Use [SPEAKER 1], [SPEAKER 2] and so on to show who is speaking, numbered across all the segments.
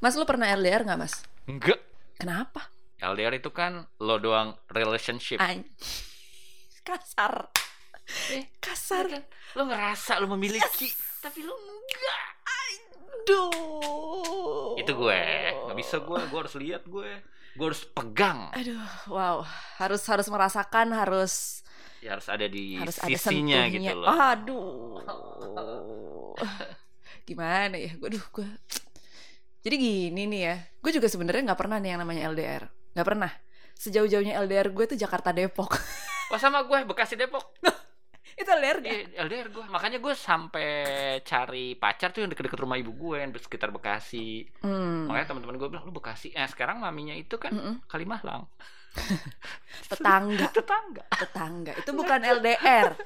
[SPEAKER 1] Mas lu pernah LDR nggak mas?
[SPEAKER 2] Enggak.
[SPEAKER 1] Kenapa?
[SPEAKER 2] LDR itu kan lo doang relationship.
[SPEAKER 1] An- kasar,
[SPEAKER 2] Eh,
[SPEAKER 1] kasar.
[SPEAKER 2] Lo ngerasa lo memiliki, tapi lo enggak.
[SPEAKER 1] Duh.
[SPEAKER 2] Itu gue. Nggak bisa gue. Gue harus lihat gue. Gue harus pegang.
[SPEAKER 1] Aduh, wow. Harus harus merasakan, harus
[SPEAKER 2] Ya harus ada di
[SPEAKER 1] harus ada
[SPEAKER 2] sisinya
[SPEAKER 1] sentuhnya. Oh.
[SPEAKER 2] gitu loh.
[SPEAKER 1] Aduh. Gimana ya? Gue aduh gue. Jadi gini nih ya. Gue juga sebenarnya nggak pernah nih yang namanya LDR. Nggak pernah. Sejauh-jauhnya LDR gue tuh Jakarta Depok.
[SPEAKER 2] Wah Oh, sama gue Bekasi Depok.
[SPEAKER 1] Itu LDR gak?
[SPEAKER 2] Iya, LDR gue. Makanya gue sampai cari pacar tuh yang deket-deket rumah ibu gue yang sekitar Bekasi.
[SPEAKER 1] Hmm.
[SPEAKER 2] Makanya teman-teman gue bilang lu Bekasi. Eh sekarang maminya itu kan
[SPEAKER 1] Mm-mm.
[SPEAKER 2] Kalimahlang.
[SPEAKER 1] Tetangga,
[SPEAKER 2] Tetangga.
[SPEAKER 1] tetangga. Itu bukan LDR.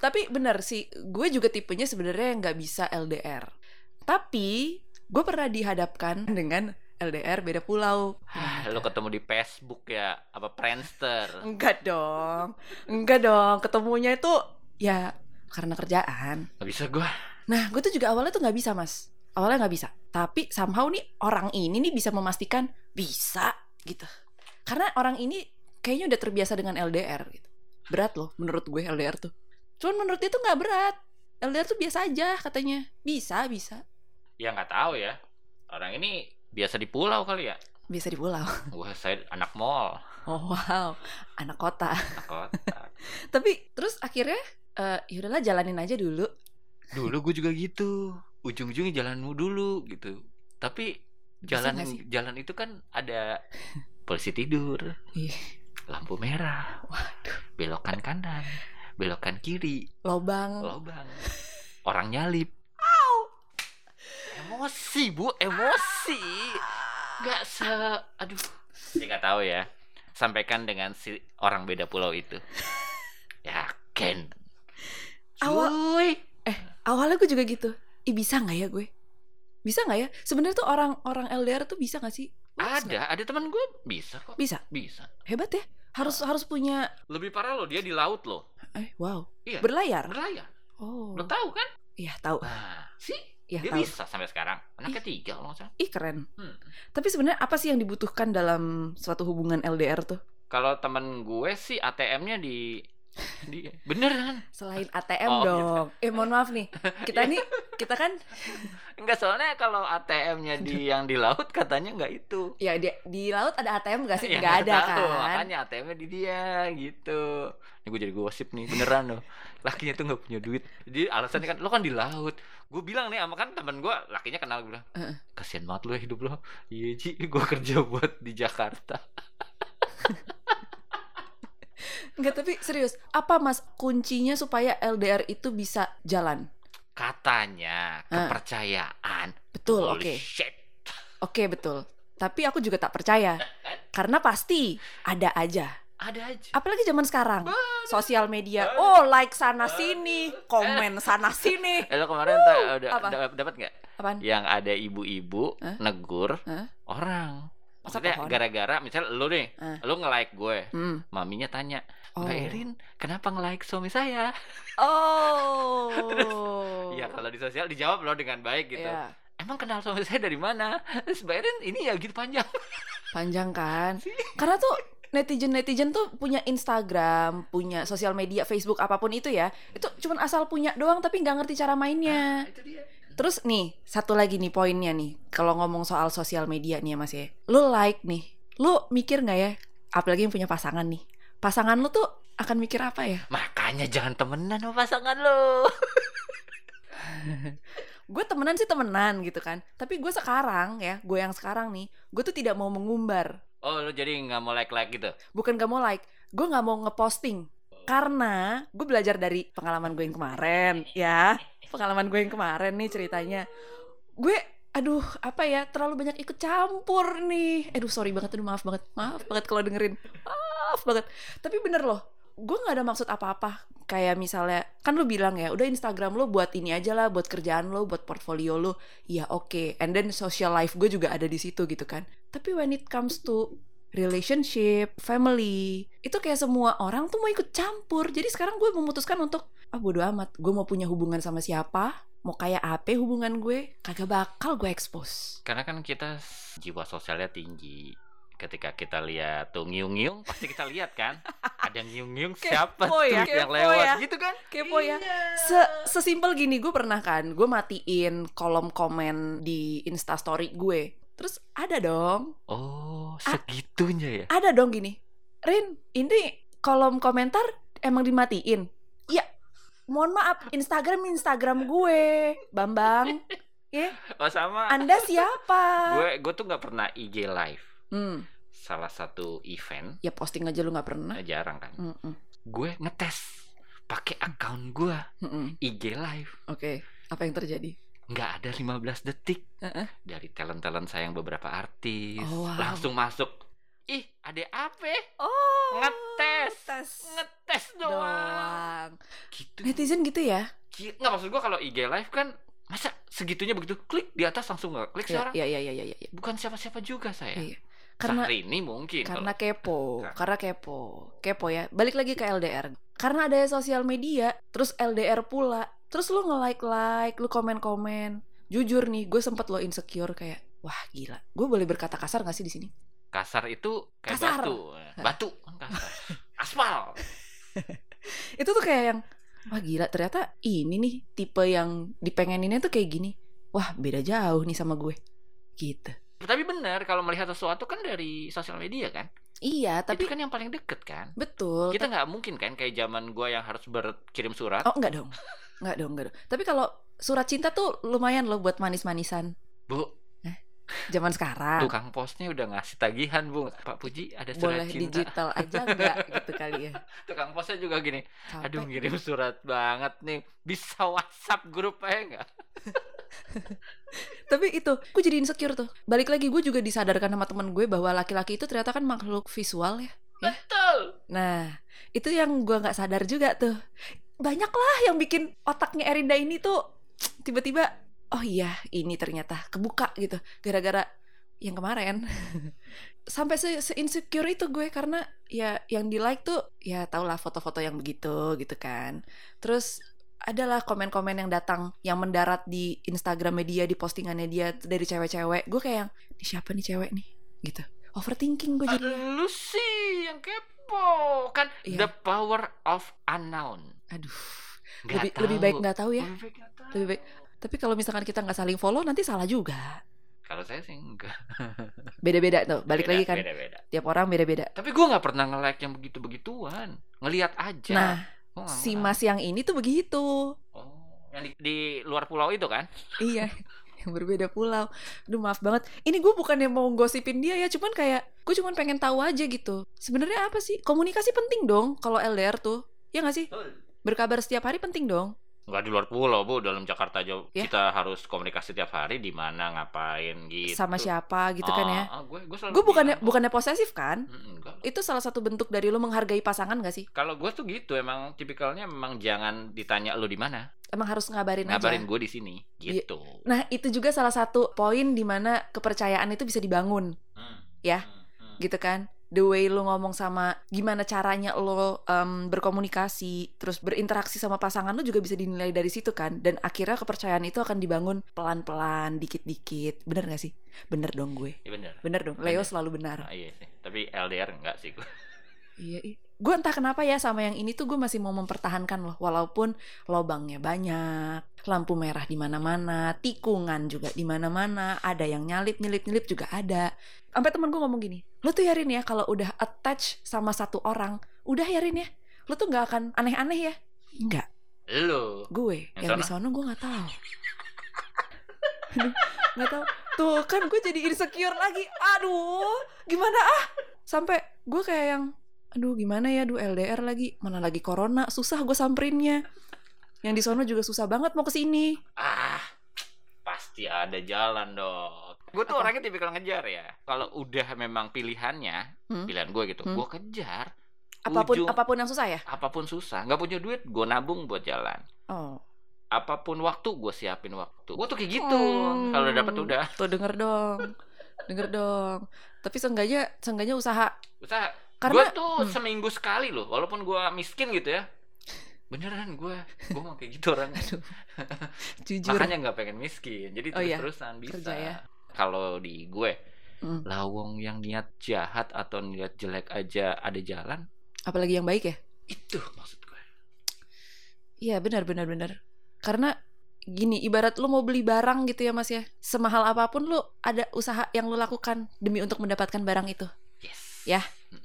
[SPEAKER 1] Tapi bener sih, gue juga tipenya sebenarnya nggak bisa LDR. Tapi gue pernah dihadapkan dengan LDR beda pulau.
[SPEAKER 2] Hah, Lu Ah, ketemu di Facebook ya apa Friendster.
[SPEAKER 1] Enggak dong, enggak dong. Ketemunya itu ya karena kerjaan.
[SPEAKER 2] Gak bisa gue.
[SPEAKER 1] Nah, gue tuh juga awalnya tuh nggak bisa, mas. Awalnya nggak bisa. Tapi somehow nih orang ini nih bisa memastikan bisa gitu. Karena orang ini kayaknya udah terbiasa dengan LDR gitu. Berat loh menurut gue LDR tuh. Cuman menurut dia tuh nggak berat. LDR tuh biasa aja katanya. Bisa, bisa.
[SPEAKER 2] Ya nggak tahu ya. Orang ini biasa di pulau kali ya.
[SPEAKER 1] Biasa di pulau.
[SPEAKER 2] Wah saya anak mall.
[SPEAKER 1] Oh wow, anak kota.
[SPEAKER 2] Anak kota.
[SPEAKER 1] Tapi terus akhirnya eh yaudahlah jalanin aja dulu.
[SPEAKER 2] Dulu gue juga gitu. Ujung-ujungnya jalanmu dulu gitu. Tapi
[SPEAKER 1] Bisa
[SPEAKER 2] jalan
[SPEAKER 1] nggak sih?
[SPEAKER 2] jalan itu kan ada polisi tidur.
[SPEAKER 1] Ih.
[SPEAKER 2] Lampu merah.
[SPEAKER 1] Waduh,
[SPEAKER 2] belokan kanan, belokan kiri,
[SPEAKER 1] lobang.
[SPEAKER 2] lobang, orang nyalip. Emosi bu, emosi. Gak se, aduh. Saya nggak tahu ya. Sampaikan dengan si orang beda pulau itu. Yakin.
[SPEAKER 1] Awal-
[SPEAKER 2] Cuy.
[SPEAKER 1] awalnya gue juga gitu ih bisa nggak ya gue bisa nggak ya sebenarnya tuh orang-orang LDR tuh bisa nggak sih Lu bisa nggak?
[SPEAKER 2] Ada, ada teman gue bisa kok.
[SPEAKER 1] bisa
[SPEAKER 2] Bisa.
[SPEAKER 1] hebat ya harus harus punya
[SPEAKER 2] Lebih parah loh, dia di laut loh.
[SPEAKER 1] eh wow
[SPEAKER 2] Iya.
[SPEAKER 1] berlayar
[SPEAKER 2] Berlayar.
[SPEAKER 1] oh
[SPEAKER 2] Lo tahu kan?
[SPEAKER 1] iya tahu
[SPEAKER 2] Nah, sih.
[SPEAKER 1] iya
[SPEAKER 2] Dia
[SPEAKER 1] tahu
[SPEAKER 2] bisa sampai sekarang. Anak ketiga loh.
[SPEAKER 1] ih keren
[SPEAKER 2] Hmm.
[SPEAKER 1] tapi sebenarnya apa sih yang dibutuhkan dalam suatu hubungan LDR tuh
[SPEAKER 2] Kalau temen gue sih ATM-nya di di kan? beneran.
[SPEAKER 1] selain ATM
[SPEAKER 2] Oh, gitu.
[SPEAKER 1] dong eh mohon maaf nih kita nih kita kan
[SPEAKER 2] Enggak soalnya kalau ATM-nya di yang di laut katanya enggak itu.
[SPEAKER 1] ya di, di laut ada ATM nggak sih
[SPEAKER 2] Ya,
[SPEAKER 1] nggak ada
[SPEAKER 2] tahu,
[SPEAKER 1] kan
[SPEAKER 2] Makanya ATM-nya di dia gitu. Ini gue jadi gosip nih beneran loh. Lakinya tuh nggak punya duit. Jadi alasannya kan lo kan di laut. Gue bilang nih sama kan temen gue lakinya kenal gue bilang.
[SPEAKER 1] Heeh.
[SPEAKER 2] Kasihan banget lo ya hidup lo. Iya Ji, gue kerja buat di Jakarta.
[SPEAKER 1] nggak tapi serius apa mas kuncinya supaya LDR itu bisa jalan
[SPEAKER 2] Katanya
[SPEAKER 1] Heeh.
[SPEAKER 2] kepercayaan.
[SPEAKER 1] betul oke
[SPEAKER 2] Holy shit.
[SPEAKER 1] Oke betul. Tapi aku juga tak percaya. Karena pasti ada aja.
[SPEAKER 2] Ada aja.
[SPEAKER 1] Apalagi zaman sekarang. Sosial media. Oh,
[SPEAKER 2] Aduh.
[SPEAKER 1] like sana sini, komen sana sini.
[SPEAKER 2] Eh lo kemarin tuh udah
[SPEAKER 1] apa?
[SPEAKER 2] dap- dapat nggak?
[SPEAKER 1] Apaan?
[SPEAKER 2] yang ada ibu-ibu
[SPEAKER 1] Hah?
[SPEAKER 2] negur
[SPEAKER 1] Hah?
[SPEAKER 2] orang.
[SPEAKER 1] Masa
[SPEAKER 2] Maksudnya
[SPEAKER 1] pohon?
[SPEAKER 2] gara-gara misalnya lu nih,
[SPEAKER 1] Ah.
[SPEAKER 2] lu nge-like gue.
[SPEAKER 1] Hmm.
[SPEAKER 2] Maminya tanya,
[SPEAKER 1] Oh.
[SPEAKER 2] Mbak Erin, kenapa nge-like suami saya?
[SPEAKER 1] Oh.
[SPEAKER 2] Iya kalau di sosial dijawab lo dengan baik gitu.
[SPEAKER 1] Iya.
[SPEAKER 2] Emang kenal suami saya dari mana? Terus Mbak Erin ini ya gitu panjang.
[SPEAKER 1] Panjang kan? Karena tuh netizen-netizen tuh punya Instagram, punya sosial media, Facebook apapun itu ya. Itu cuman asal punya doang tapi nggak ngerti cara mainnya.
[SPEAKER 2] Itu dia.
[SPEAKER 1] Terus nih, satu lagi nih poinnya nih. Kalau ngomong soal sosial media nih ya Mas ya. Lu like nih. Lu mikir nggak ya? Apalagi yang punya pasangan nih. Pasangan lu tuh akan mikir apa ya?
[SPEAKER 2] Makanya jangan temenan sama pasangan lo.
[SPEAKER 1] Gue temenan sih temenan gitu kan. Tapi gue sekarang ya, gue yang sekarang nih, gue tuh tidak mau mengumbar.
[SPEAKER 2] Oh lo jadi nggak mau like-like gitu?
[SPEAKER 1] Bukan gak mau like, gue nggak mau ngeposting. Karena gue belajar dari pengalaman gue yang kemarin ya. Pengalaman gue yang kemarin nih ceritanya. Gue aduh apa ya terlalu banyak ikut campur nih aduh sorry banget aduh maaf banget maaf banget kalau dengerin maaf banget tapi bener loh gue nggak ada maksud apa-apa kayak misalnya kan lu bilang ya udah Instagram lo buat ini aja lah buat kerjaan lo buat portfolio lo ya oke and then social life gue juga ada di situ gitu kan tapi when it comes to relationship family itu kayak semua orang tuh mau ikut campur jadi sekarang gue memutuskan untuk ah bodo amat gue mau punya hubungan sama siapa mau kayak apa hubungan gue kagak bakal gue expose
[SPEAKER 2] Karena kan kita s- jiwa sosialnya tinggi. Ketika kita lihat tuh ngiung-ngiung, pasti kita lihat kan. Ada ngiung-ngiung siapa
[SPEAKER 1] Kepo
[SPEAKER 2] tuh
[SPEAKER 1] ya,
[SPEAKER 2] yang
[SPEAKER 1] kepo
[SPEAKER 2] lewat
[SPEAKER 1] ya.
[SPEAKER 2] gitu kan?
[SPEAKER 1] kepo ya Se- sesimpel gini gue pernah kan gue matiin kolom komen di instastory gue terus ada dong
[SPEAKER 2] Oh, segitunya ya.
[SPEAKER 1] ada dong gini Rin ini kolom komentar emang dimatiin ya mohon maaf Instagram Instagram gue Bambang
[SPEAKER 2] Oh, sama.
[SPEAKER 1] Anda siapa
[SPEAKER 2] Gue gue tuh nggak pernah IG live.
[SPEAKER 1] hmm
[SPEAKER 2] Salah satu event
[SPEAKER 1] ya posting aja lu nggak pernah
[SPEAKER 2] eh, jarang kan.
[SPEAKER 1] Mm-mm,
[SPEAKER 2] Gue ngetes pakai akun gue
[SPEAKER 1] mm-mm.
[SPEAKER 2] IG live.
[SPEAKER 1] oke apa yang terjadi
[SPEAKER 2] nggak ada 15 detik
[SPEAKER 1] Heeh.
[SPEAKER 2] dari talent-talent saya yang beberapa artis
[SPEAKER 1] Oh, wow.
[SPEAKER 2] langsung masuk ih ada apa
[SPEAKER 1] oh
[SPEAKER 2] Ngetes.
[SPEAKER 1] tes
[SPEAKER 2] ngetes doang
[SPEAKER 1] doang
[SPEAKER 2] gitu
[SPEAKER 1] netizen gitu ya
[SPEAKER 2] Gi- nggak maksud gua kalau IG live kan masa segitunya begitu klik di atas langsung nggak klik
[SPEAKER 1] ya
[SPEAKER 2] sekarang
[SPEAKER 1] ya ya ya ya, ya, ya.
[SPEAKER 2] bukan siapa-siapa juga saya
[SPEAKER 1] Iya. karena
[SPEAKER 2] Sehari ini mungkin
[SPEAKER 1] karena
[SPEAKER 2] kalau-
[SPEAKER 1] kepo
[SPEAKER 2] Nah.
[SPEAKER 1] karena kepo kepo ya balik lagi ke LDR karena ada sosial media terus LDR pula terus lu nge like like lu komen komen jujur nih gue sempet lo insecure kayak wah gila gue boleh berkata kasar gak sih di sini
[SPEAKER 2] kasar itu kayak
[SPEAKER 1] Kasar.
[SPEAKER 2] batu batu kan kasar aspal
[SPEAKER 1] itu tuh kayak yang wah gila ternyata ini nih tipe yang dipengeninnya tuh kayak gini wah beda jauh nih sama gue gitu
[SPEAKER 2] tapi benar kalau melihat sesuatu kan dari sosial media kan
[SPEAKER 1] iya
[SPEAKER 2] tapi
[SPEAKER 1] tapi
[SPEAKER 2] kan yang paling deket kan
[SPEAKER 1] betul
[SPEAKER 2] kita nggak mungkin kan kayak zaman gua yang harus berkirim surat
[SPEAKER 1] oh enggak dong enggak dong enggak dong tapi kalau surat cinta tuh lumayan loh buat manis-manisan Eh,
[SPEAKER 2] bu
[SPEAKER 1] zaman sekarang
[SPEAKER 2] tukang posnya udah ngasih tagihan bu Pak Puji ada surat
[SPEAKER 1] boleh
[SPEAKER 2] cinta
[SPEAKER 1] digital aja enggak gitu kali ya
[SPEAKER 2] tukang posnya juga gini
[SPEAKER 1] Capek.
[SPEAKER 2] aduh ngirim surat banget nih bisa WhatsApp grup aja nggak
[SPEAKER 1] tapi itu aku jadi insecure tuh balik lagi gue juga disadarkan sama teman gue bahwa laki-laki itu ternyata kan makhluk visual ya
[SPEAKER 2] betul
[SPEAKER 1] nah itu yang gue nggak sadar juga tuh banyak lah yang bikin otaknya Erinda ini tuh tiba-tiba oh iya ini ternyata kebuka gitu gara-gara yang kemarin sampai se, insecure itu gue karena ya yang di like tuh ya tau lah foto-foto yang begitu gitu kan terus adalah komen-komen yang datang yang mendarat di Instagram media di postingannya dia dari cewek-cewek gue kayak yang "Ini siapa nih cewek nih gitu overthinking gue jadi
[SPEAKER 2] lu sih yang kepo kan
[SPEAKER 1] Iya.
[SPEAKER 2] the power of unknown
[SPEAKER 1] aduh
[SPEAKER 2] Nggak
[SPEAKER 1] lebih
[SPEAKER 2] tahu. Hmm.
[SPEAKER 1] lebih baik nggak tahu ya
[SPEAKER 2] Lebih baik nggak tahu.
[SPEAKER 1] Lebih baik- tapi kalau misalkan kita nggak saling follow nanti salah juga
[SPEAKER 2] kalau saya sih enggak
[SPEAKER 1] beda-beda tuh balik
[SPEAKER 2] Beda,
[SPEAKER 1] lagi kan
[SPEAKER 2] beda, beda.
[SPEAKER 1] tiap orang beda-beda
[SPEAKER 2] tapi gua nggak pernah nge-like yang begitu begituan ngelihat aja
[SPEAKER 1] nah
[SPEAKER 2] Gua nggak
[SPEAKER 1] si
[SPEAKER 2] nge-like.
[SPEAKER 1] mas yang ini tuh begitu
[SPEAKER 2] oh, yang di, di luar pulau itu kan
[SPEAKER 1] iya yang berbeda pulau Aduh maaf banget ini gue bukannya mau gosipin dia ya cuman kayak gue cuman pengen tahu aja gitu sebenarnya apa sih komunikasi penting dong kalau LDR tuh ya nggak sih berkabar setiap hari penting dong
[SPEAKER 2] Nggak di luar pulau, Bu. Dalam Jakarta aja
[SPEAKER 1] Ya.
[SPEAKER 2] kita harus komunikasi tiap hari di mana, ngapain gitu.
[SPEAKER 1] sama siapa gitu kan ya
[SPEAKER 2] Ah, ah, gue, gue selalu
[SPEAKER 1] gue bukannya
[SPEAKER 2] bilang,
[SPEAKER 1] bukannya posesif kan
[SPEAKER 2] "Mm, enggak."
[SPEAKER 1] itu salah satu bentuk dari lo menghargai pasangan gak sih
[SPEAKER 2] Kalau gue tuh gitu, emang tipikalnya memang jangan ditanya lu di mana.
[SPEAKER 1] emang harus ngabarin, aja
[SPEAKER 2] Ngabarin gue di sini gitu.
[SPEAKER 1] nah itu juga salah satu poin dimana kepercayaan itu bisa dibangun
[SPEAKER 2] Hmm,
[SPEAKER 1] Ya.
[SPEAKER 2] hmm, hmm.
[SPEAKER 1] gitu kan the way lu ngomong sama gimana caranya lo em, berkomunikasi terus berinteraksi sama pasangan lu juga bisa dinilai dari situ kan dan akhirnya kepercayaan itu akan dibangun pelan-pelan dikit-dikit bener gak sih bener dong gue
[SPEAKER 2] Iya bener.
[SPEAKER 1] bener dong Leo
[SPEAKER 2] Bener.
[SPEAKER 1] selalu benar
[SPEAKER 2] Ah, iya sih. Tapi LDR enggak sih gue.
[SPEAKER 1] iya iya gue entah kenapa ya sama yang ini tuh gue masih mau mempertahankan loh walaupun lobangnya banyak lampu merah di mana-mana tikungan juga di mana-mana ada yang nyalip nyelip nyelip juga ada sampai temen gue ngomong gini lo tuh yarin ya kalau udah attach sama satu orang udah yarin ya lo tuh nggak akan aneh-aneh ya Enggak,
[SPEAKER 2] Lu.
[SPEAKER 1] gue
[SPEAKER 2] Yang
[SPEAKER 1] yang, di sono gue nggak tahu Aduh, nggak tahu tuh kan gue jadi insecure lagi aduh gimana ah sampai gue kayak yang aduh gimana ya duh LDR lagi mana lagi corona susah gue samperinnya yang di sono juga susah banget mau ke sini
[SPEAKER 2] Ah. Pasti ada jalan dong. Gue tuh
[SPEAKER 1] Apa?
[SPEAKER 2] orangnya tipikal ngejar ya. Kalau udah memang pilihannya,
[SPEAKER 1] Hmm.
[SPEAKER 2] pilihan gue gitu,
[SPEAKER 1] Hmm.
[SPEAKER 2] gue kejar.
[SPEAKER 1] apapun
[SPEAKER 2] Ujung-
[SPEAKER 1] apapun yang susah ya
[SPEAKER 2] apapun susah nggak punya duit gue nabung buat jalan
[SPEAKER 1] oh
[SPEAKER 2] apapun waktu gue siapin waktu gue tuh kayak gitu
[SPEAKER 1] Hmm.
[SPEAKER 2] kalau udah dapat udah
[SPEAKER 1] tuh denger dong denger dong tapi seenggaknya seenggaknya usaha
[SPEAKER 2] usaha gue
[SPEAKER 1] karena
[SPEAKER 2] tuh
[SPEAKER 1] hmm.
[SPEAKER 2] seminggu sekali loh walaupun gue miskin gitu ya beneran gue gue mau kayak gitu orang
[SPEAKER 1] Aduh. Jujur.
[SPEAKER 2] makanya nggak pengen miskin jadi
[SPEAKER 1] Oh, iya.
[SPEAKER 2] terus terusan bisa
[SPEAKER 1] Kerja ya.
[SPEAKER 2] kalau di ya, gue
[SPEAKER 1] Mm.
[SPEAKER 2] lawong yang niat jahat atau niat jelek aja ada jalan
[SPEAKER 1] Apalagi yang baik ya?
[SPEAKER 2] itu maksud gue
[SPEAKER 1] Iya benar benar benar. Karena gini ibarat lu mau beli barang gitu ya Mas ya. Semahal apapun lu ada usaha yang lu lakukan demi untuk mendapatkan barang itu.
[SPEAKER 2] yes
[SPEAKER 1] Ya.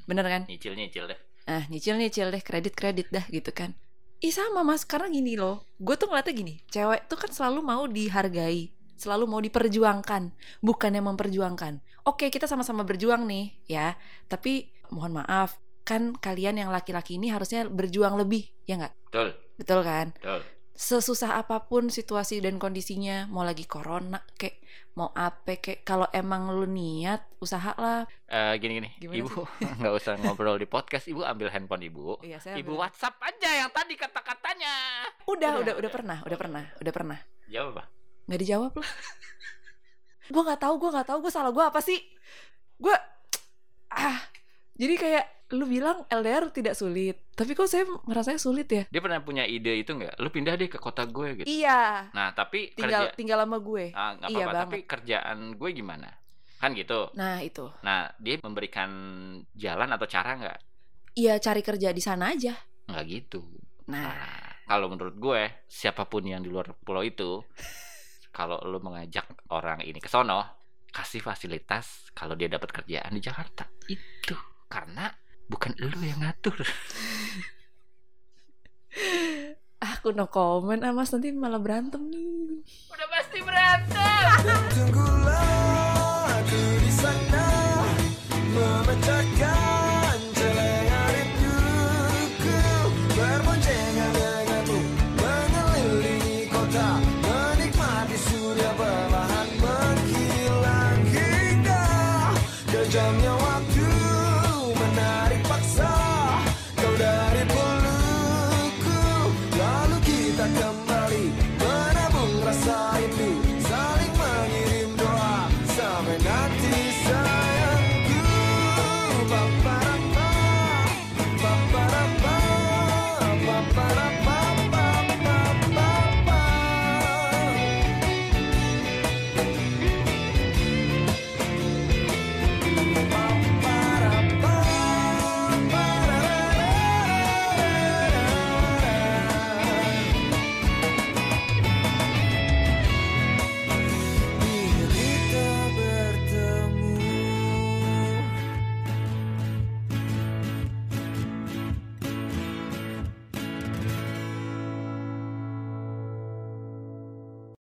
[SPEAKER 1] Bener kan?
[SPEAKER 2] nyicil nyicil deh
[SPEAKER 1] Ah, nyicil-nyicil deh, kredit-kredit dah gitu kan. Ih sama mas, karena gini loh. Gue tuh ngeliatnya gini, cewek tuh kan selalu mau dihargai. Selalu mau diperjuangkan, bukan yang memperjuangkan. Oke, kita sama-sama berjuang nih, ya. Tapi mohon maaf, kan kalian yang laki-laki ini harusnya berjuang lebih, ya nggak?
[SPEAKER 2] betul
[SPEAKER 1] Betul kan?
[SPEAKER 2] betul
[SPEAKER 1] sesusah apapun situasi dan kondisinya mau lagi corona kek mau apa kek kalau emang lu niat usahalah
[SPEAKER 2] Eh, gini gini
[SPEAKER 1] Gimana
[SPEAKER 2] ibu nggak usah ngobrol di podcast ibu ambil handphone ibu
[SPEAKER 1] iya saya
[SPEAKER 2] ibu
[SPEAKER 1] ambil.
[SPEAKER 2] WhatsApp aja yang tadi kata katanya
[SPEAKER 1] udah
[SPEAKER 2] Udah,
[SPEAKER 1] udah udah
[SPEAKER 2] udah.
[SPEAKER 1] pernah udah pernah udah pernah
[SPEAKER 2] jawab Ya apa
[SPEAKER 1] nggak dijawab lah gue nggak tahu gue nggak tahu gue salah gue apa sih gue ah jadi kayak lu bilang LDR tidak sulit tapi kok saya ngerasanya sulit ya
[SPEAKER 2] dia pernah punya ide itu nggak lu pindah deh ke kota gue gitu
[SPEAKER 1] iya
[SPEAKER 2] nah tapi
[SPEAKER 1] tinggal
[SPEAKER 2] kerja
[SPEAKER 1] tinggal sama gue
[SPEAKER 2] ah, nggak
[SPEAKER 1] Iya
[SPEAKER 2] apa-apa
[SPEAKER 1] banget.
[SPEAKER 2] tapi kerjaan gue gimana kan gitu
[SPEAKER 1] nah itu
[SPEAKER 2] nah dia memberikan jalan atau cara nggak
[SPEAKER 1] iya cari kerja di sana aja
[SPEAKER 2] nggak gitu
[SPEAKER 1] nah
[SPEAKER 2] Nah, kalau menurut gue, siapapun yang di luar pulau itu, kalau lu mengajak orang ini ke sono, kasih fasilitas kalau dia dapat kerjaan di Jakarta. Itu karena bukan lu yang ngatur.
[SPEAKER 1] aku no comment ah mas nanti malah berantem nih
[SPEAKER 2] Udah pasti berantem.
[SPEAKER 3] Tunggulah aku di sana memecahkan celengan rinduku berboncengan denganmu mengelilingi kota menikmati surya perlahan menghilang hingga kejamnya waktu